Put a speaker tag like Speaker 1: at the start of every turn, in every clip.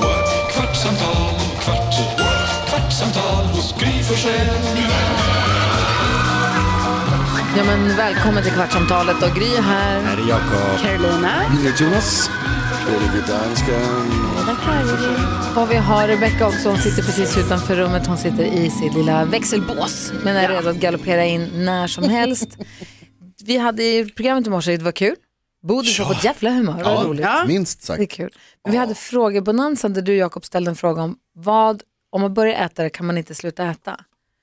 Speaker 1: what? kvartsamtal, kvart, what? kvartsamtal hos Gry Forssell med vänner.
Speaker 2: Ja, men välkommen till Kvartsamtalet och Gry här.
Speaker 3: Här är Jakob.
Speaker 4: Carolina.
Speaker 3: Jonas.
Speaker 2: Och vi har Rebecca också. Hon sitter precis utanför rummet. Hon sitter i sitt lilla växelbås men är redo att galoppera in när som helst. vi hade i programmet i morse, det var kul. Bodis var på ett jävla humör, vad roligt.
Speaker 5: Minst
Speaker 2: Det är
Speaker 5: sagt.
Speaker 2: kul. Men vi hade frågebonanzan där du Jakob ställde en fråga om vad, om man börjar äta det kan man inte sluta äta.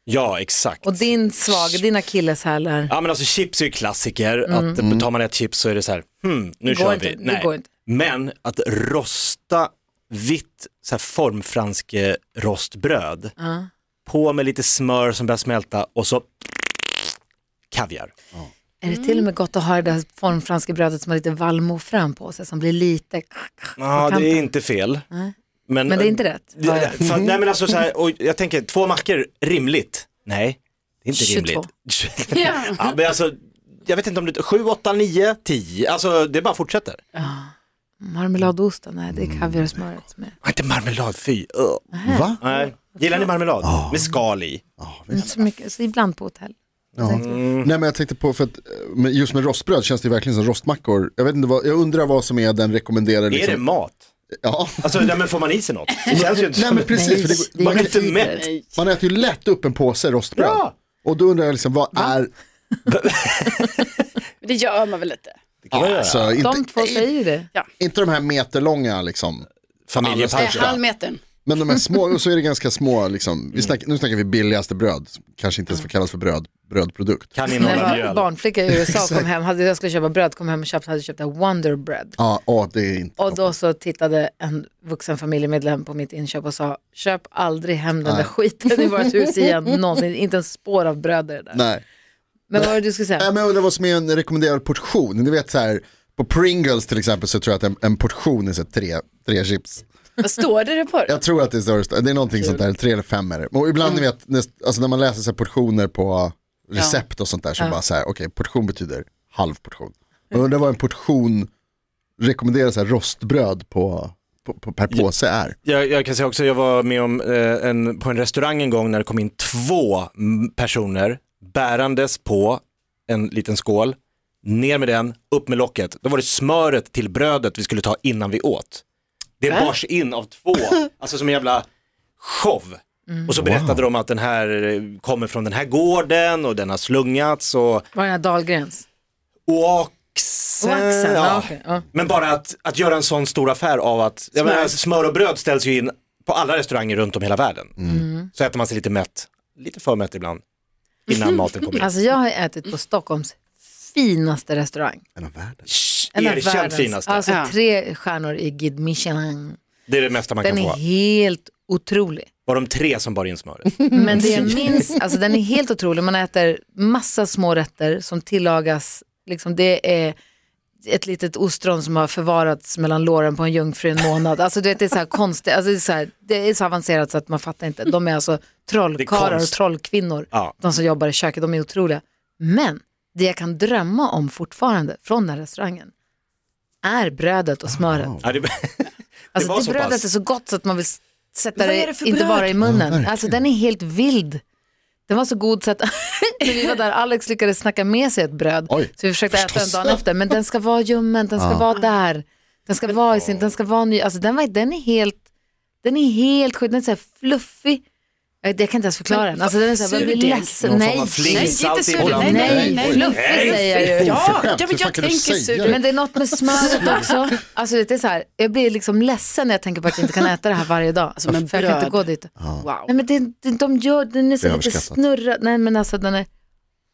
Speaker 3: Ja, exakt.
Speaker 2: Och din svag, din akilleshäl är,
Speaker 3: Ja men alltså chips är ju klassiker, att eh, tar man ett chips så är det så här, hmm, nu
Speaker 2: går
Speaker 3: kör
Speaker 2: inte,
Speaker 3: vi.
Speaker 2: Mm. det går inte.
Speaker 3: Men att rosta vitt så här formfranske rostbröd, på med lite smör som börjar smälta och så kaviar.
Speaker 2: är det till och med gott att ha det där formfranska brödet som har lite vallmofrön på sig som blir lite...
Speaker 3: Ja,
Speaker 2: på
Speaker 3: Ah, det är
Speaker 2: kanten.
Speaker 3: inte fel.
Speaker 2: Men det är inte rätt.
Speaker 3: Det- För, nej men alltså så här, och jag tänker två mackor, rimligt? Nej, det är inte
Speaker 2: 22.
Speaker 3: rimligt. ja, men alltså, jag vet inte om det, 7, 8, 9, 10, alltså det bara fortsätter.
Speaker 2: Marmeladost, då? nej det är kaviar och smöret som är.
Speaker 3: Ah, Inte marmelad, fy. Ugh.
Speaker 5: Va?
Speaker 3: Nej. Gillar ni marmelad? Med skal i.
Speaker 2: Inte så mycket, så ibland på hotell.
Speaker 5: Mm. Ja. Mm. Nej men jag tänkte på, för att eh, men just med rostbröd känns det ju verkligen som rostmackor. Jag, vet inte vad, jag undrar vad som är den rekommenderade.
Speaker 3: Är det
Speaker 5: Liksom.
Speaker 3: mat?
Speaker 5: Ja.
Speaker 3: Alltså, nej, men får man i sig något? Det känns ju inte
Speaker 5: Nej
Speaker 3: som-
Speaker 5: men precis, för det,
Speaker 2: Nej,
Speaker 5: man,
Speaker 3: Man blir
Speaker 5: äter,
Speaker 3: inte mätt.
Speaker 5: man äter ju lätt upp en påse rostbröd.
Speaker 3: Ja.
Speaker 5: Och då undrar jag liksom, vad är,
Speaker 4: Det gör man väl lite?
Speaker 3: Det kan man göra.
Speaker 5: alltså,
Speaker 2: De
Speaker 5: inte,
Speaker 2: två säger ju det.
Speaker 5: inte de här meterlånga liksom.
Speaker 4: Nej,
Speaker 3: Familjepasta.
Speaker 4: halvmetern.
Speaker 5: Men de här små, och så är det ganska små, liksom, vi snack, nu snackar vi billigaste bröd, som kanske inte ens får kallas för bröd, brödprodukt.
Speaker 3: Kan
Speaker 2: När
Speaker 3: innehålla
Speaker 2: jag var
Speaker 3: mjöl.
Speaker 2: barnflicka i USA och kom hem, hade jag skulle köpa bröd, kom hem och köpte, hade köpt det här Wonder Bread.
Speaker 5: Ja, ja, det är inte
Speaker 2: Och då så tittade en vuxen familjemedlem på mitt inköp och sa, köp aldrig hem den där skiten i vårt hus igen någonsin, inte en spår av bröd är det där.
Speaker 5: Nej.
Speaker 2: Men vad var det du skulle
Speaker 5: Nej,
Speaker 2: säga?
Speaker 5: men jag undrar vad som är en rekommenderad portion. Du vet så här, på Pringles till exempel så tror jag att en, en portion är så här, tre, tre chips.
Speaker 4: Vad står det på det?
Speaker 5: Jag tror att det är störst, det är någonting sånt där, tre eller fem är det. Och ibland ni vet, näst, alltså när man läser så här portioner på recept och sånt där så bara så här, okej portion betyder halv portion. Och jag undrar vad en portion rekommenderas så här, rostbröd på, på, på per påse är.
Speaker 3: Jag, jag kan säga också, jag var med om eh, en, på en restaurang en gång när det kom in två mm, personer bärandes på en liten skål, ner med den, upp med locket. Då var det smöret till brödet vi skulle ta innan vi åt. Det bars in av två, alltså som en jävla show. Och så berättade de att den här eh, kommer från den här gården och den har slungats och
Speaker 2: Var det den här Dahlgrens?
Speaker 3: Oaxen.
Speaker 2: Oaxen, ja, okej, ja.
Speaker 3: Men bara att, att göra en sån stor affär av att jag menar, smör och bröd ställs ju in på alla restauranger runt om hela världen.
Speaker 2: Mm.
Speaker 5: Mm.
Speaker 3: Så äter man sig lite mätt, lite för mätt ibland, innan maten kommer in.
Speaker 2: Alltså jag har ätit på Stockholms finaste restaurang.
Speaker 5: En av världen.
Speaker 3: Shh,
Speaker 2: En av
Speaker 3: Erkänt
Speaker 2: världens,
Speaker 3: finaste.
Speaker 2: Alltså
Speaker 4: Ja.
Speaker 2: tre stjärnor i Guide Michelin.
Speaker 3: det är det mesta man
Speaker 2: Den
Speaker 3: kan
Speaker 2: är
Speaker 3: få.
Speaker 2: helt otrolig.
Speaker 3: Var de tre som bar in smöret?
Speaker 2: Men det jag minns, alltså den är helt otrolig. Man äter massa små rätter som tillagas, liksom det är ett litet ostron som har förvarats mellan låren på en jungfru i en månad. Alltså du vet det är så här konstigt, alltså, det, är så här, det är så avancerat så att man fattar inte. De är alltså
Speaker 3: Det är
Speaker 2: trollkarlar och
Speaker 3: konst.
Speaker 2: trollkvinnor.
Speaker 3: Ja.
Speaker 2: De som jobbar i köket, de är otroliga. Men det jag kan drömma om fortfarande från den här restaurangen är brödet och smöret.
Speaker 3: Ja, det,
Speaker 2: Alltså
Speaker 3: Det
Speaker 2: det,
Speaker 3: var så
Speaker 2: brödet
Speaker 3: pass.
Speaker 2: är så gott så att man vill s- sätta
Speaker 4: Vad är
Speaker 2: det,
Speaker 4: det för
Speaker 2: inte
Speaker 4: bröd?
Speaker 2: bara i
Speaker 5: Ja,
Speaker 2: munnen.
Speaker 5: verkligen.
Speaker 2: alltså den är helt vild. Den var så god så att när vi var där, Alex lyckades snacka med sig ett bröd.
Speaker 5: Oj,
Speaker 2: så vi försökte
Speaker 5: förstås.
Speaker 2: äta den dagen efter. Men den ska vara ljummen, den ska vara där. Den ska vara i sin, den ska vara ny. Alltså den, var, den är helt, den är helt sjuk. Den är så här fluffig. Jag, jag kan inte ens förklara den. Alltså den är så här, jag blir
Speaker 4: surdeg?
Speaker 2: ledsen.
Speaker 3: Någon form
Speaker 2: Nej,
Speaker 3: av fling.
Speaker 4: Nej,
Speaker 3: Salt
Speaker 4: inte
Speaker 3: i
Speaker 4: sur.
Speaker 3: Holland.
Speaker 4: Nej, nej, nej.
Speaker 2: Fluffig säger jag ju.
Speaker 4: Ja,
Speaker 5: Oförskämt, hur
Speaker 4: ja, men
Speaker 5: fan
Speaker 4: jag
Speaker 5: kan du
Speaker 4: tänker
Speaker 5: säga
Speaker 4: sur.
Speaker 5: det?
Speaker 2: Men det är något med smöret också. Alltså det är så här, jag blir liksom ledsen när jag tänker på att jag inte kan äta det här varje dag. Alltså,
Speaker 4: men
Speaker 2: för jag kan
Speaker 4: bröd.
Speaker 2: inte gå dit.
Speaker 4: Wow.
Speaker 2: Nej men det, det, de gör, den är så
Speaker 5: Det är
Speaker 2: lite
Speaker 5: överskattat.
Speaker 2: snurrad. Nej men alltså den är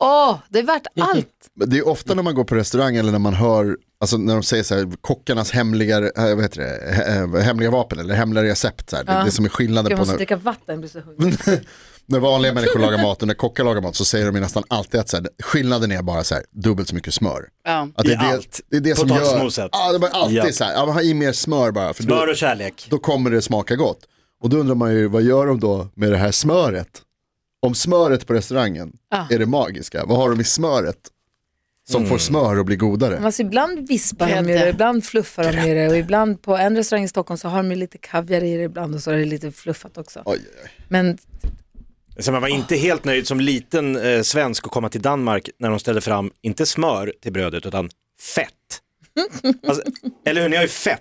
Speaker 2: Åh, det är värt allt.
Speaker 5: Men Det är ofta när man går på restaurang eller när man hör, alltså när de säger så här, kockarnas hemliga, eh, vad heter det, eh, hemliga vapen eller hemliga recept. Så här. Det, det som är skillnaden
Speaker 2: Jag
Speaker 5: på
Speaker 2: måste
Speaker 5: när,
Speaker 2: dricka vatten, jag blir så hungrig.
Speaker 5: när vanliga människor lagar mat och när kockar lagar mat så säger de ju nästan alltid att så här, skillnaden är bara så här, dubbelt så mycket smör.
Speaker 4: Ja.
Speaker 5: Att det,
Speaker 3: I
Speaker 5: är det,
Speaker 3: allt.
Speaker 5: det är det som gör,
Speaker 3: Potatismoset.
Speaker 5: ja, det är bara alltid
Speaker 3: Ja.
Speaker 5: så här, ja, men ha i mer smör bara. För
Speaker 3: Smör
Speaker 5: då,
Speaker 3: och kärlek.
Speaker 5: då kommer det smaka gott. Och då undrar man ju, vad gör de då med det här smöret? Om smöret på restaurangen är det magiska, vad har de i smöret? Som
Speaker 3: Mm.
Speaker 5: får smör att bli godare.
Speaker 2: Men alltså, ibland vispar de ju
Speaker 4: Grädde.
Speaker 2: det, ibland fluffar de ju det och ibland på en restaurang i Stockholm så har de ju lite kaviar i det ibland och så är det lite fluffat också.
Speaker 5: Oj, oj, oj.
Speaker 2: Men
Speaker 3: Så man var inte helt nöjd som liten eh, svensk att komma till Danmark när de ställde fram, inte smör till brödet, utan fett. Alltså, eller hur, ni har ju fett.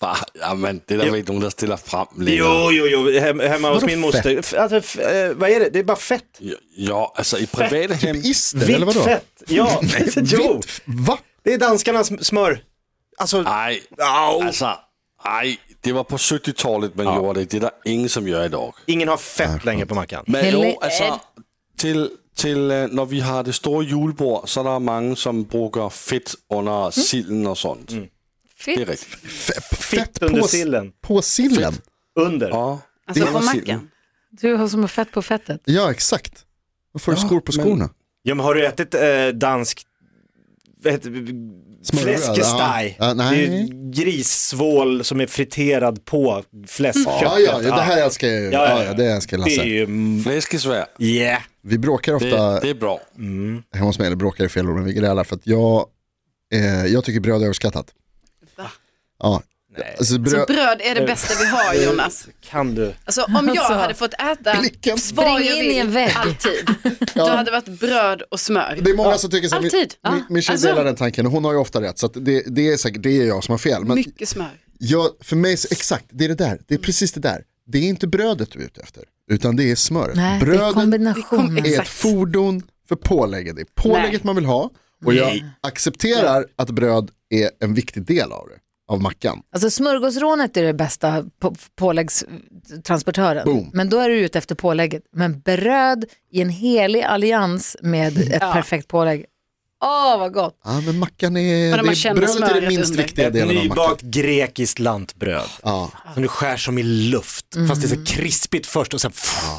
Speaker 6: Va? Jamen, det er der jo. ikke nogen, der stiller frem
Speaker 3: Jo, jo, jo, Hem, hemma hos
Speaker 5: Vadå
Speaker 3: min moster. F- Alltså, f- eh, vad är det? Det är bara fett.
Speaker 6: Jo, jo, altså i private hjem...
Speaker 5: Typ Ister, eller
Speaker 3: Vitt
Speaker 5: vadå?
Speaker 3: fett. Ja, jo.
Speaker 5: Va?
Speaker 3: Det är danskarnas smör. Alltså,
Speaker 6: Ej,
Speaker 5: Ah.
Speaker 3: Au.
Speaker 5: Alltså.
Speaker 6: altså, ej, det var på 70-tallet, man gjorde det. Det er der ingen, som gør i dag.
Speaker 3: ingen har
Speaker 5: Ah.
Speaker 3: fett längre på mackan.
Speaker 6: Men
Speaker 2: Heller
Speaker 6: jo, altså, til, til, øh, når vi har det store julebord, så er der mange, som bruger fedt under silden og sådan. Det er
Speaker 2: fitt,
Speaker 6: rigtigt.
Speaker 3: Fitt
Speaker 5: på
Speaker 3: under
Speaker 5: s-
Speaker 3: sillen.
Speaker 5: På sillen?
Speaker 3: Under.
Speaker 5: Ah.
Speaker 6: Ja,
Speaker 4: Alltså
Speaker 6: det
Speaker 4: på
Speaker 6: var
Speaker 4: mackan.
Speaker 6: silden.
Speaker 2: du har som har fett på fettet.
Speaker 5: Ja, exakt. Då får du skor på
Speaker 6: men-
Speaker 5: skorna.
Speaker 3: Ja, men har du ätit eh, dansk vad heter det?
Speaker 5: Smörbröd,
Speaker 3: fläskesteg?
Speaker 5: ja. Ja,
Speaker 3: det
Speaker 5: nej.
Speaker 3: är ju grissvål som är friterad på fläskköttet.
Speaker 5: Ja, ja, det här älskar jag ju.
Speaker 3: Ja, ja,
Speaker 5: Ja, ja, det älskar
Speaker 3: Det är
Speaker 5: Lasse.
Speaker 3: ju, mm,
Speaker 6: Flæskesvær,
Speaker 3: yeah.
Speaker 5: Vi bråkar
Speaker 6: det,
Speaker 5: ofta
Speaker 6: det er bra.
Speaker 5: hemma hos mig, eller bråkar i fel ord, men vi grälar för att jag, eh, jag tycker bröd är överskattat. Ja. Alltså
Speaker 4: Så
Speaker 5: bröd,
Speaker 4: bröd är det bästa vi har
Speaker 3: Mm.
Speaker 4: Jonas.
Speaker 3: Kan du?
Speaker 4: Alltså om jag hade fått äta
Speaker 5: Blicken.
Speaker 4: vad
Speaker 2: Spring
Speaker 4: jag
Speaker 2: in
Speaker 4: vill
Speaker 2: i en vägg.
Speaker 4: alltid, då
Speaker 5: Ja.
Speaker 4: hade det varit bröd och smör.
Speaker 5: det är många som tycker så. här,
Speaker 4: Alltid.
Speaker 5: Min, min, min tjej
Speaker 4: Alltså-
Speaker 5: delar den tanken och hon har ju ofta rätt. Så att det, det är säkert det är jag som har fel. Men
Speaker 4: Mycket smör.
Speaker 5: jag, för mig, så- exakt, det är det där. Det är precis det där. Det är inte brödet du är ute efter, utan det är smöret.
Speaker 2: Nej, det är
Speaker 5: Brödet
Speaker 2: kombinationen.
Speaker 5: är ett
Speaker 4: Exakt.
Speaker 5: fordon för pålägget. Det är pålägget man vill ha och jag accepterar att bröd är en viktig del av det, av mackan.
Speaker 2: Alltså smörgåsrånet är det bästa på, påläggstransportören.
Speaker 5: Boom.
Speaker 2: Men då är du ute efter pålägget. Men bröd i en helig allians med ett perfekt pålägg. Åh, vad gott.
Speaker 5: Ja, men mackan är,
Speaker 4: Men om man
Speaker 5: det är
Speaker 4: känner
Speaker 5: brödet är den
Speaker 4: smöret
Speaker 5: minst
Speaker 4: under.
Speaker 5: viktiga
Speaker 3: Ett
Speaker 5: delen av mackan.
Speaker 3: nybakt grekiskt lantbröd
Speaker 5: Ja.
Speaker 3: som du skär som i luft.
Speaker 2: Mm.
Speaker 3: Fast det är så krispigt först och sen pff,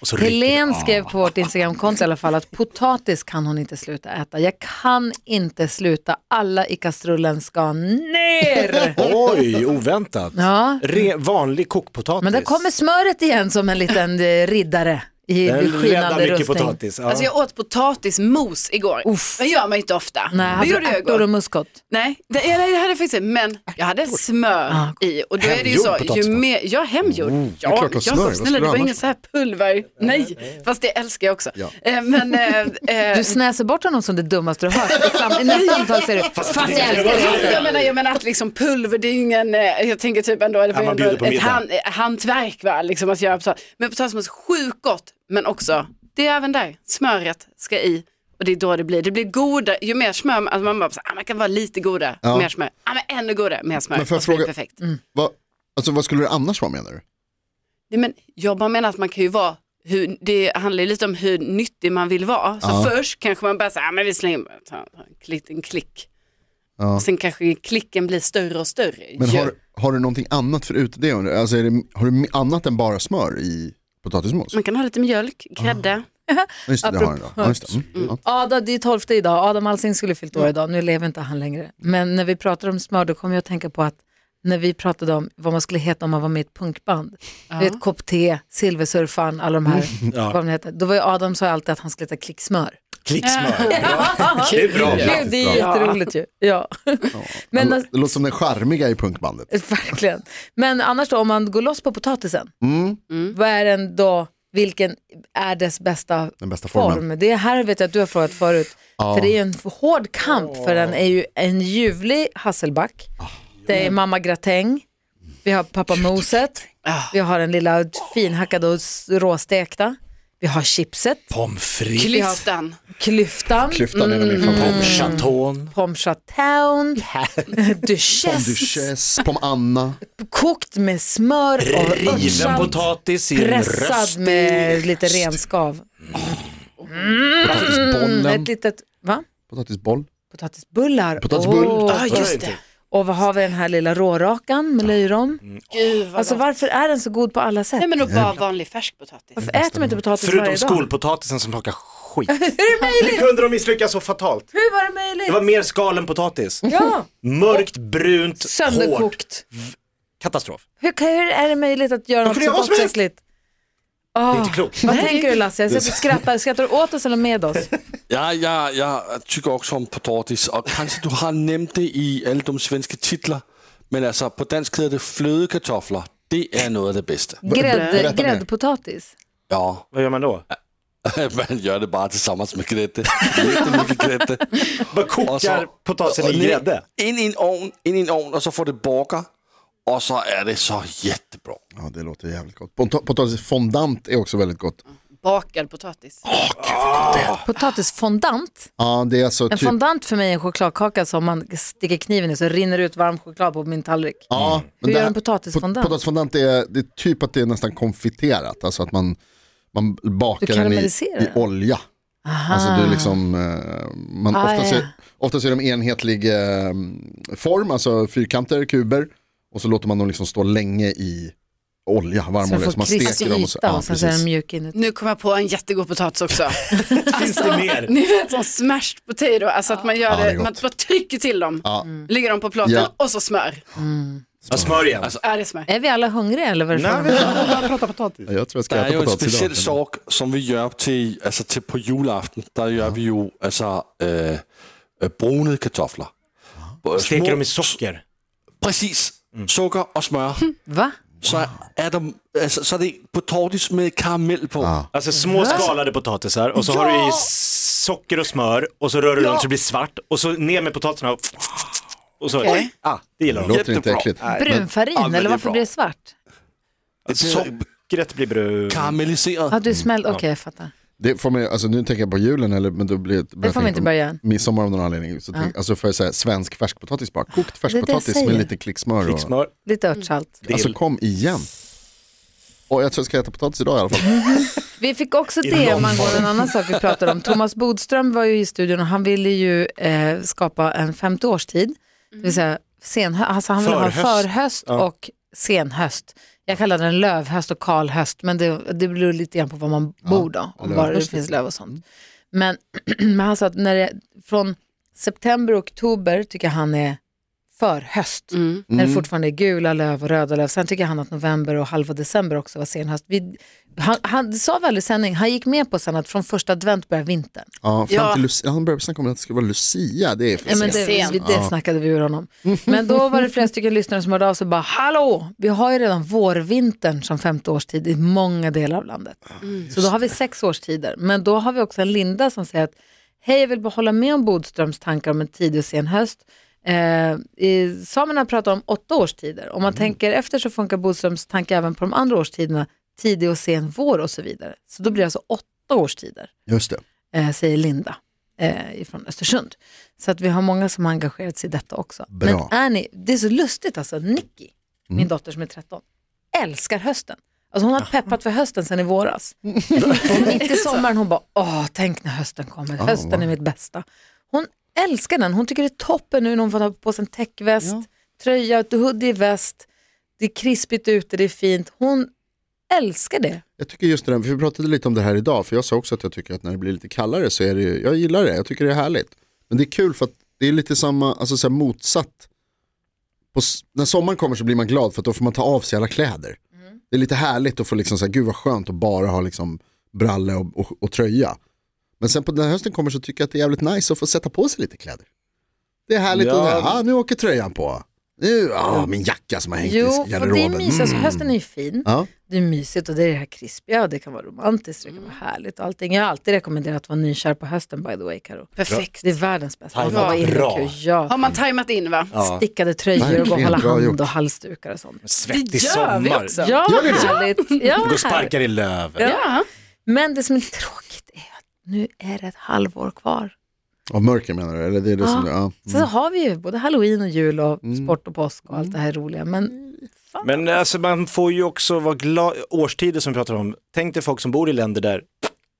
Speaker 3: och så ryker det.
Speaker 2: Helen skrev på vårt Instagramkonto i alla fall att potatis kan hon inte sluta äta. Jag kan inte sluta. Alla i kastrullen ska ner.
Speaker 3: Oj, oväntat.
Speaker 2: Ja.
Speaker 3: Re, vanlig kokpotatis.
Speaker 2: Men där kommer smöret igen som en liten eh, riddare i
Speaker 3: Den räddar
Speaker 2: skinande
Speaker 3: mycket
Speaker 2: rustning.
Speaker 3: potatis. Ja.
Speaker 4: Alltså jag åt potatismos igår.
Speaker 2: Uff.
Speaker 4: Det gör man ju inte ofta.
Speaker 2: Nej,
Speaker 4: det
Speaker 2: hade
Speaker 4: gjorde
Speaker 2: du
Speaker 4: jag
Speaker 2: ärtor och
Speaker 4: igår.
Speaker 2: muskot?
Speaker 4: Nej, det, nej, det hade jag faktiskt inte. Men jag hade smör i och då är det ju
Speaker 5: Hemgjord
Speaker 4: så, ju
Speaker 5: potatismos.
Speaker 4: mer, ja hemgjord.
Speaker 5: det är
Speaker 4: ja,
Speaker 5: klart du har smör,
Speaker 4: Jakob
Speaker 5: vad skulle
Speaker 4: snälla det
Speaker 5: du
Speaker 4: var
Speaker 5: annars?
Speaker 4: ingen så här pulver. Nej, fast det älskar jag också. Eh, Men, eh, eh,
Speaker 2: Du snäser bort honom som det dummaste du har hört. I sam- I nästa antal säger du, fast jag älskar dig.
Speaker 4: jag, menar, jag menar att liksom pulver, det är ju ingen, eh, jag tänker typ ändå, det var
Speaker 3: Ja, man
Speaker 4: ändå
Speaker 3: bjuder på
Speaker 4: ett
Speaker 3: middag.
Speaker 4: hand, eh, hantverk va, liksom att göra potatis. Men potatismos, sjukt gott, men också, det är även där, smöret ska i och det är då det blir, det blir goda, ju mer smör, man- alltså man bara, så, ah, man kan vara lite goda,
Speaker 5: Ja.
Speaker 4: mer smör, ah, men ännu godare, mer smör,
Speaker 5: Men får jag
Speaker 4: och så blir det
Speaker 5: fråga-
Speaker 4: perfekt.
Speaker 5: Vad, alltså, vad skulle det annars vara menar du?
Speaker 4: Nej, men jag bara menar att man kan ju vara, hur, det handlar ju lite om hur nyttig man vill vara. Så
Speaker 5: Ja.
Speaker 4: först kanske man bara säger, ah, men vi slänger bara ta, ta, en klick, en klick.
Speaker 5: Ja.
Speaker 4: Sen kanske klicken blir större och större.
Speaker 5: Men
Speaker 4: ju.
Speaker 5: har, har du någonting annat förut det? undrar jag? Alltså, är det, har du annat än bara smör i potatismos?
Speaker 4: Man kan ha lite mjölk, grädde.
Speaker 5: Ja, Just det, det har den då. Ja, just det. Mm. Ja.
Speaker 2: Adam, det är 12 idag. Adam Alsing skulle fyllt år idag. Nu lever inte han längre. Men när vi pratar om smör, då kommer jag att tänka på att när vi pratade om vad man skulle heta om man var med i ett punkband. Du vet, kopp te, silversurfaren, alla de här. vad de heter. Då var ju Adam sa ju alltid att han skulle heta klicksmör.
Speaker 3: Klicksmör. Det är bra.
Speaker 2: Det, det är
Speaker 5: Ja.
Speaker 2: jätteroligt ju. Ja. Men
Speaker 5: det låter som den charmiga i punkbandet.
Speaker 2: Verkligen. Men annars då, om man går loss på potatisen,
Speaker 5: Mm.
Speaker 2: vad är den då, vilken är dess bästa,
Speaker 5: Den bästa
Speaker 2: form?
Speaker 5: formen.
Speaker 2: Det här vet jag att du har frågat förut, för det är ju en hård kamp, för den är ju en ljuvlig hasselback,
Speaker 5: Ah.
Speaker 2: det är mamma gratäng, vi har pappa moset, vi har den lilla finhackade och s- råstekta, vi har chipset,
Speaker 3: Pommes frites.
Speaker 4: Klyftan.
Speaker 2: klyftan,
Speaker 5: Klyftan är nog min favorit.
Speaker 3: Pommes chaton.
Speaker 2: pommes chatown, duchesse,
Speaker 5: Duchesse, Pom Anna.
Speaker 2: kokt med smör och
Speaker 3: Riven
Speaker 2: örtsalt.
Speaker 3: potatis i en
Speaker 2: pressad
Speaker 3: röst.
Speaker 2: med lite renskav.
Speaker 5: Potatisbollen.
Speaker 3: Mm.
Speaker 2: Ett litet, va?
Speaker 5: Potatisboll.
Speaker 2: Potatisbullar.
Speaker 5: Potatisbull.
Speaker 2: Åh.
Speaker 4: Ja, just det.
Speaker 2: Och vad har vi den här lilla rårakan med löjrom?
Speaker 3: Mm.
Speaker 4: Gud vad
Speaker 2: Alltså
Speaker 4: gott.
Speaker 2: varför är den så god på alla sätt?
Speaker 4: Nej men och bara vanlig färskpotatis.
Speaker 2: Varför äter de inte potatis
Speaker 3: Förutom
Speaker 2: varje dag?
Speaker 3: skolpotatisen som smakar skit. Hur kunde de misslyckas så fatalt?
Speaker 2: Hur var det möjligt?
Speaker 3: Det var mer skal än potatis.
Speaker 2: Ja,
Speaker 3: Mörkt, brunt, hårt.
Speaker 2: sönderkokt.
Speaker 3: Katastrof.
Speaker 2: Hur, kan- hur är det möjligt att göra något
Speaker 3: kunde jag
Speaker 2: så
Speaker 3: vad som helst.
Speaker 2: otäckligt? Oh,
Speaker 3: Det är inte klokt.
Speaker 2: vad tänker du Lasse? Jag ser att du skrattar. Skrattar du åt oss eller med oss?
Speaker 6: Ja, jag, jag tycker också om potatis och kanske du har nämnt det i alla de svenska titlar. Men alltså på dansk heter det flödekartoffler. Det är något av det bästa.
Speaker 2: Grädd,
Speaker 5: mer.
Speaker 2: gräddpotatis.
Speaker 6: Ja,
Speaker 3: Vad gör man då?
Speaker 6: man gör det bara tillsammans med grädde. Jättemycket grädde.
Speaker 3: Bara
Speaker 6: Och så-
Speaker 3: kokar potatisen
Speaker 6: och
Speaker 3: i
Speaker 6: ner-
Speaker 3: grädde.
Speaker 6: In i en ugn, in i en ugn och så får det baka. Och så är det så jättebra.
Speaker 5: Ja, det låter jävligt gott. Pot- Potatisfondant är också väldigt gott.
Speaker 4: Bakad potatis.
Speaker 2: Potatisfondant.
Speaker 5: Ja, det är alltså
Speaker 2: En
Speaker 5: typ...
Speaker 2: fondant för mig är en chokladkaka som man sticker kniven i så rinner det ut varm choklad på min tallrik.
Speaker 5: Ja, men
Speaker 2: Hur
Speaker 5: det
Speaker 2: gör
Speaker 5: här-
Speaker 2: en potatisfondant?
Speaker 5: pot- Potatisfondant är, det är typ att det är nästan konfiterat, alltså att man, man bakar
Speaker 2: Du
Speaker 5: den i,
Speaker 2: karamelliserar
Speaker 5: i
Speaker 2: den.
Speaker 5: olja. Alltså du liksom, eh, man
Speaker 2: Ah,
Speaker 5: oftast,
Speaker 2: ja.
Speaker 5: är, oftast är de enhetlig eh, form, alltså fyrkanter, kuber. Och så låter man dem liksom stå länge i olja, varm
Speaker 2: Så den
Speaker 5: olja. Så
Speaker 2: får
Speaker 5: man
Speaker 2: krispig
Speaker 5: steker dem och så,
Speaker 2: yta
Speaker 5: ja,
Speaker 2: och sen så är den
Speaker 5: precis.
Speaker 2: mjuk inuti.
Speaker 4: Nu kom jag på en jättegod potatis också.
Speaker 3: Finns det mer?
Speaker 4: Ni vet som smashed potato, alltså att man gör
Speaker 5: Ja, det är
Speaker 4: det, man
Speaker 5: gott.
Speaker 4: bara trycker till dem,
Speaker 5: Ja.
Speaker 4: lägger dem på plåten
Speaker 5: Ja.
Speaker 4: och så smör.
Speaker 3: Ja, smör igen.
Speaker 4: Ja, det är smör.
Speaker 2: Är vi alla hungriga eller vad är det frågan om?
Speaker 5: Ja, Jag tror jag ska
Speaker 6: Det är ju
Speaker 5: äta
Speaker 6: en
Speaker 5: potatis
Speaker 6: speciel
Speaker 5: idag.
Speaker 6: sak som vi gör till, alltså till på julafton. Där gör vi ju alltså, äh, brunade kartoffler.
Speaker 3: Alltså, Steker dem i socker.
Speaker 6: Precis. Socker och smör.
Speaker 2: Va?
Speaker 6: Så är, de, alltså, så är det potatis med karamell på.
Speaker 3: Alltså små skalade potatisar och så har du i socker och smör och så rör du runt så det blir svart och så ner med potatisen och, och så.
Speaker 4: Okej.
Speaker 3: Ah, det gillar
Speaker 5: Det
Speaker 3: de.
Speaker 5: låter inte
Speaker 6: Jättebra.
Speaker 5: äckligt.
Speaker 2: Brunfarin
Speaker 6: ja, men det är
Speaker 2: eller varför
Speaker 6: bra.
Speaker 2: blir det svart?
Speaker 3: Sockret blir brunt.
Speaker 6: Karamelliserad.
Speaker 2: Ja,
Speaker 5: Mm.
Speaker 2: du smällde, okej jag fattar.
Speaker 5: Det får mig, alltså nu tänker jag på julen, eller, men då blir det,
Speaker 2: Det får man inte börja än.
Speaker 5: Midsommar av någon anledning. Så tänk, Alltså för så här, svensk färskpotatis bara, kokt
Speaker 2: jag
Speaker 5: färskpotatis med
Speaker 2: säger.
Speaker 5: lite klicksmör. Och,
Speaker 3: Smör.
Speaker 2: Lite örtsalt.
Speaker 5: alltså kom igen. Och jag tror jag ska äta potatis idag i alla fall.
Speaker 2: Vi fick också
Speaker 3: I
Speaker 2: det, om
Speaker 3: någon
Speaker 2: man går en annan sak vi pratade om. Thomas Bodström var ju i studion och han ville ju eh, skapa en femte årstid. Det vill säga senhö- alltså han ville ha
Speaker 3: Mm. Förhöst.
Speaker 2: förhöst och senhöst. Jag kallar den lövhöst och kalhöst, men det, det beror lite grann på vad man bor då, om bara det finns löv och sånt. Men, men han sa att när det, från september och oktober tycker han är förhöst.
Speaker 4: Mm.
Speaker 2: När det fortfarande är gula löv och röda löv. Sen tycker han att november och halva december också var sen höst. Vi, han, han sa väl i sändning, han gick med på sen att från första advent börjar vintern.
Speaker 5: Ja, fram
Speaker 4: Ja.
Speaker 5: till Lucia, han började snacka om att det skulle vara Lucia, det är för
Speaker 2: Ja, men
Speaker 5: sent.
Speaker 2: det,
Speaker 4: Sen.
Speaker 2: vi, det snackade vi ur honom. Men då var det flera stycken lyssnare som hörde av sig och bara, hallå, vi har ju redan vårvintern som femte årstid i många delar av landet. Så då har vi sex årstider. Men då har vi också en Linda som säger att, hej jag vill bara hålla med om Bodströms tankar om en tidig och sen höst. Eh, i, samerna pratar om åtta årstider. Om man tänker efter så funkar Bodströms tanke även på de andra årstiderna, tidig och sen vår och så vidare. Så då blir det alltså åtta årstider
Speaker 5: Just det.
Speaker 2: eh, säger Linda eh, från Östersund. Så att vi har många som har engagerat sig i detta också.
Speaker 5: Bra. Mm.
Speaker 2: Men är ni, det är så lustigt alltså, Nicky, min dotter som är 13, älskar hösten. Alltså hon har peppat för hösten sedan i våras. Och mitt i sommaren hon bara, åh tänk när hösten kommer, hösten är mitt bästa. Hon älskar den, hon tycker det är toppen nu när hon får ta på sig en täckväst, tröja, ett hoodie, väst, det är krispigt ute, det är fint. Hon älskar det.
Speaker 5: Jag tycker just det där, för vi pratade lite om det här idag, för jag sa också att jag tycker att när det blir lite kallare så är det ju, jag gillar det, jag tycker det är härligt. Men det är kul för att det är lite samma, alltså så här motsatt. På, s- när sommaren kommer så blir man glad för att då får man ta av sig alla kläder.
Speaker 2: Mm.
Speaker 5: Det är lite härligt att få liksom så här, gud vad skönt att bara ha liksom bralle och, och, och tröja. Men sen på när hösten kommer så tycker jag att det är jävligt nice att få sätta på sig lite kläder. Det är härligt
Speaker 3: Ja.
Speaker 5: att, säga, ah, nu åker tröjan på. Nu, ah, min jacka som har hängt
Speaker 2: Jo,
Speaker 5: i
Speaker 2: för det är
Speaker 5: garderoben. Mm.
Speaker 2: mysigt, alltså, hösten är ju fin.
Speaker 5: Ja.
Speaker 2: det är mysigt och det är det här krispiga och det kan vara romantiskt och det kan
Speaker 4: Mm.
Speaker 2: vara härligt och allting. Jag har alltid rekommenderat att vara nykär på hösten by the way Karo.
Speaker 4: Perfekt.
Speaker 2: Det är världens bästa. Man får
Speaker 3: Tajmat
Speaker 2: vara
Speaker 3: bra.
Speaker 2: innekul, ja.
Speaker 4: Har man tajmat in va?
Speaker 2: Stickade tröjor och gå och
Speaker 5: Verkligen,
Speaker 2: hålla
Speaker 5: bra
Speaker 2: hand
Speaker 5: gjort.
Speaker 2: och halsdukar och sånt.
Speaker 3: Svettig
Speaker 4: Det gör vi
Speaker 3: sommar.
Speaker 4: också.
Speaker 3: Gå
Speaker 2: Ja, vad härligt. Ja,
Speaker 3: och
Speaker 2: vad härligt.
Speaker 3: sparkar i löv.
Speaker 4: Ja.
Speaker 2: Men det som är tråkigt är att nu är det ett halvår kvar.
Speaker 5: Av mörker menar du? Eller det är det som,
Speaker 2: Ja.
Speaker 5: ja.
Speaker 3: Mm.
Speaker 2: Sen så har vi ju både halloween och jul och sport och påsk och allt det här roliga. Men
Speaker 3: Men eh, alltså man får ju också vara glad, årstider som vi pratar om, tänk dig folk som bor i länder där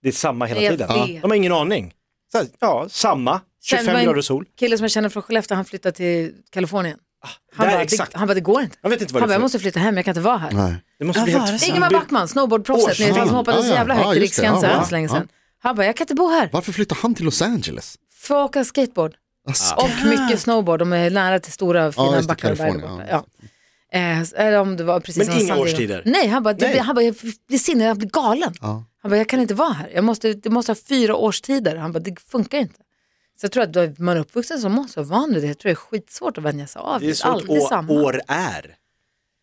Speaker 3: det är samma hela
Speaker 2: Jag
Speaker 3: tiden.
Speaker 2: vet.
Speaker 3: De har ingen aning. Så här, ja, samma, 25
Speaker 2: Sen var en
Speaker 3: grader sol.
Speaker 2: Kille som jag känner från Skellefteå, han flyttade till Kalifornien. Han,
Speaker 3: där,
Speaker 2: bara, det,
Speaker 3: exakt.
Speaker 2: han bara, det går inte.
Speaker 3: Jag vet inte vad
Speaker 2: Han
Speaker 3: det
Speaker 2: bara,
Speaker 3: är
Speaker 2: jag
Speaker 3: för-
Speaker 2: måste flytta hem, jag kan inte vara här.
Speaker 5: Mm. Nej.
Speaker 3: Det måste bli
Speaker 4: Ja, var
Speaker 3: helt...
Speaker 4: det så?
Speaker 3: Ingemar
Speaker 2: Ingemar Backman, snowboardproffset, ni vet, han som hoppade
Speaker 5: Ja,
Speaker 2: så
Speaker 5: ja.
Speaker 2: jävla
Speaker 5: Ja,
Speaker 2: högt i
Speaker 5: just det.
Speaker 2: Riksgränsen
Speaker 5: Ja,
Speaker 2: ja, så länge
Speaker 5: ja.
Speaker 2: sedan. Han bara, jag kan inte bo här.
Speaker 5: Varför flyttar han till Los Angeles?
Speaker 2: Får jag åka skateboard.
Speaker 5: Alltså,
Speaker 2: Och mycket snowboard, de är nära till stora fina
Speaker 5: just det,
Speaker 2: backar där
Speaker 5: Kalifornien,
Speaker 2: borta. Ja. Eh, eller om det var precis
Speaker 3: Men
Speaker 2: som
Speaker 3: inga
Speaker 2: San Diego.
Speaker 3: årstider?
Speaker 2: Nej, han bara, det,
Speaker 3: Nej.
Speaker 2: Han bara jag blir sinnig, jag blir galen.
Speaker 5: Ja.
Speaker 2: Han bara, jag kan inte vara här, jag måste, det måste ha fyra årstider. Han bara, det funkar inte. Så jag tror att då är man uppvuxen som oss och van vid det, jag tror det är skitsvårt att vänja sig av.
Speaker 3: det är så
Speaker 2: alltid
Speaker 3: ett
Speaker 2: samma.
Speaker 3: å- år är.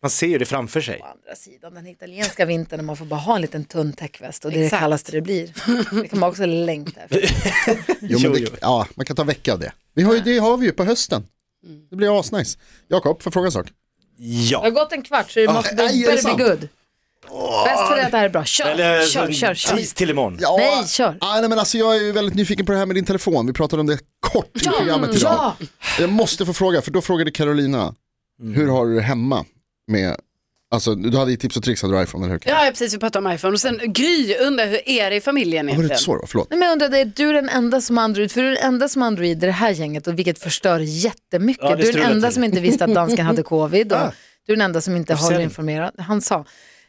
Speaker 3: Man ser ju det framför sig.
Speaker 2: Å andra sidan, den italienska vintern när man får bara ha en liten tunn täckväst och det är det
Speaker 4: Exakt.
Speaker 2: kallaste det blir. Det kan man också längta efter.
Speaker 5: jo, men
Speaker 3: Jo,
Speaker 5: det,
Speaker 3: jo.
Speaker 5: ja, man kan ta en vecka av det. Vi har ju, det har vi ju på hösten.
Speaker 2: Mm.
Speaker 5: Det blir asnice. Jakob, får jag fråga en sak?
Speaker 2: Det har
Speaker 3: Ja.
Speaker 2: gått en kvart så det måste
Speaker 5: nej, är
Speaker 2: bli
Speaker 5: det
Speaker 2: better
Speaker 5: sant?
Speaker 2: be good. Bäst för dig att det här är bra. Kör,
Speaker 3: Eller
Speaker 2: kör, kör, kör.
Speaker 3: tis till imorgon.
Speaker 5: Ja.
Speaker 2: Nej, kör.
Speaker 5: Ah, nej, men alltså, jag är ju väldigt nyfiken på det här med din telefon. Vi pratade om det kort i programmet idag.
Speaker 2: Ja,
Speaker 5: Jag måste få fråga, för då frågade Carolina, hur har du det hemma med, alltså du hade ju tips och tricks hade du iPhone, eller hur?
Speaker 4: Ja, ja, precis, vi pratade om iPhone. Och sen Gry undrar, hur är det i familjen
Speaker 5: Var det inte
Speaker 4: egentligen?
Speaker 5: så då? Förlåt.
Speaker 2: Nej, men jag undrar, är du den enda som har Android? För du är den enda som har Android i det här gänget och vilket förstör jättemycket.
Speaker 3: Ja, det
Speaker 2: du är den
Speaker 3: strular
Speaker 2: enda
Speaker 3: till.
Speaker 2: som inte visste att dansken hade covid och
Speaker 3: Ah.
Speaker 2: du är den enda som inte
Speaker 3: Varför
Speaker 2: har
Speaker 3: säger ni?
Speaker 2: informerat. Han sa.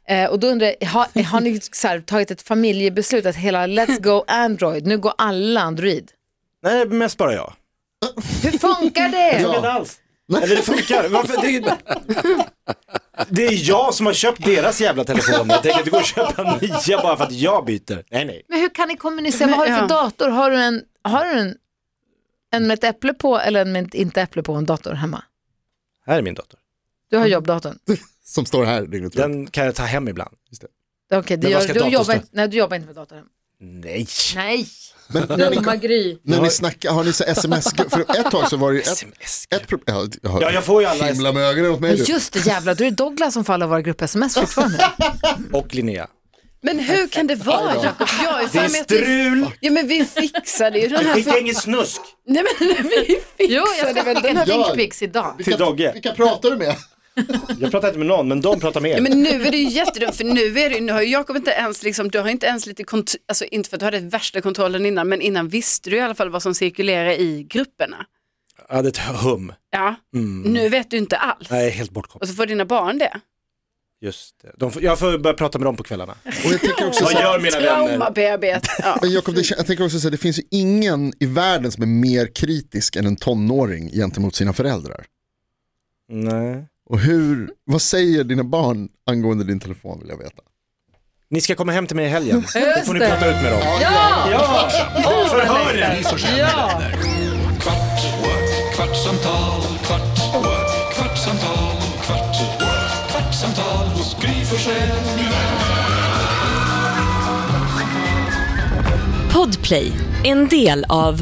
Speaker 2: Eh, och då undrar jag, har, har ni så här, tagit ett familjebeslut att hela let's go Android, nu går alla Android.
Speaker 3: Nej, mest bara jag.
Speaker 2: Hur funkar det?
Speaker 3: funkar inte alls. Eller det funkar. Varför? Det, är, det är jag som har köpt deras jävla telefoner. Jag tänker inte gå och köpa nya bara för att jag byter. Nej, nej.
Speaker 2: Men hur kan ni kommunicera? Vad har du för
Speaker 4: Ja.
Speaker 2: dator? Har du, en, har du en, en med ett äpple på eller en med inte äpple på en dator hemma?
Speaker 3: Här är min dator.
Speaker 2: Du har jobbdatorn.
Speaker 5: Som står här dygnet runt.
Speaker 3: Den kan jag ta hem ibland.
Speaker 2: Okej, det
Speaker 3: Men vad
Speaker 2: gör,
Speaker 3: ska
Speaker 2: du,
Speaker 3: datorn
Speaker 2: jobbar
Speaker 3: stå?
Speaker 2: inte, nej, du jobbar inte med datorn hemma.
Speaker 3: Nej.
Speaker 2: Nej,
Speaker 5: Men när ni,
Speaker 2: dumma Gry.
Speaker 5: när ni snackar, har ni så sms, för ett tag så var det ju ett,
Speaker 3: SMS.
Speaker 5: ett problem, ja,
Speaker 3: Ja, jag får ju alla
Speaker 5: himla med ögonen åt mig
Speaker 2: Men
Speaker 5: du.
Speaker 2: just det jävla, du är det Douglas som får alla våra grupp-sms fortfarande.
Speaker 3: och Linnea.
Speaker 4: Men hur kan det vara Jakob? Jag är
Speaker 3: Det är
Speaker 4: fan med att vi...
Speaker 3: strul.
Speaker 4: Ja alltså- men vi fixade ju den här...
Speaker 3: Skicka ingen snusk
Speaker 4: Nej men vi
Speaker 2: jo, jag
Speaker 4: fixade
Speaker 2: ska
Speaker 4: väl
Speaker 2: skicka en
Speaker 4: den här...
Speaker 5: Ja.
Speaker 2: dickpics idag.
Speaker 3: till Dogge.
Speaker 5: Vilka pratar du med?
Speaker 3: Jag pratar inte med någon, men de pratar med
Speaker 4: Ja,
Speaker 3: er.
Speaker 4: men nu är det ju jättedumt för nu, är det, ju- nu har ju Jakob inte ens liksom, du har inte ens lite kont- alltså inte för att du hade värsta kontrollen innan, men innan visste du i alla fall vad som cirkulerar i grupperna.
Speaker 3: Jag hade ett hum.
Speaker 4: Ja, nu vet du inte alls.
Speaker 3: Nej, helt bortkopplad.
Speaker 4: Och så får dina barn det.
Speaker 3: Just det. De får, jag får börja prata med dem på kvällarna.
Speaker 5: Och jag tänker också
Speaker 3: Vad
Speaker 5: så här,
Speaker 3: gör mina vänner?
Speaker 4: Trauma-bearbet. Ja.
Speaker 5: men Jakob, det, jag tänker också så här, det finns ju ingen i världen som är mer kritisk än en tonåring gentemot sina föräldrar.
Speaker 3: Nej.
Speaker 5: Och hur, vad säger dina barn angående din telefon vill jag veta.
Speaker 3: Ni ska komma hem till mig i helgen. Då får ni
Speaker 2: det.
Speaker 3: prata ut med dem. Ja! Förhören!
Speaker 1: Gry Forssell med vänner. Kvart, what? kvartsamtal, kvart, what? kvartsamtal, kvart, what? kvartsamtal hos Gry Forssell med vänner.
Speaker 7: Podplay, en del av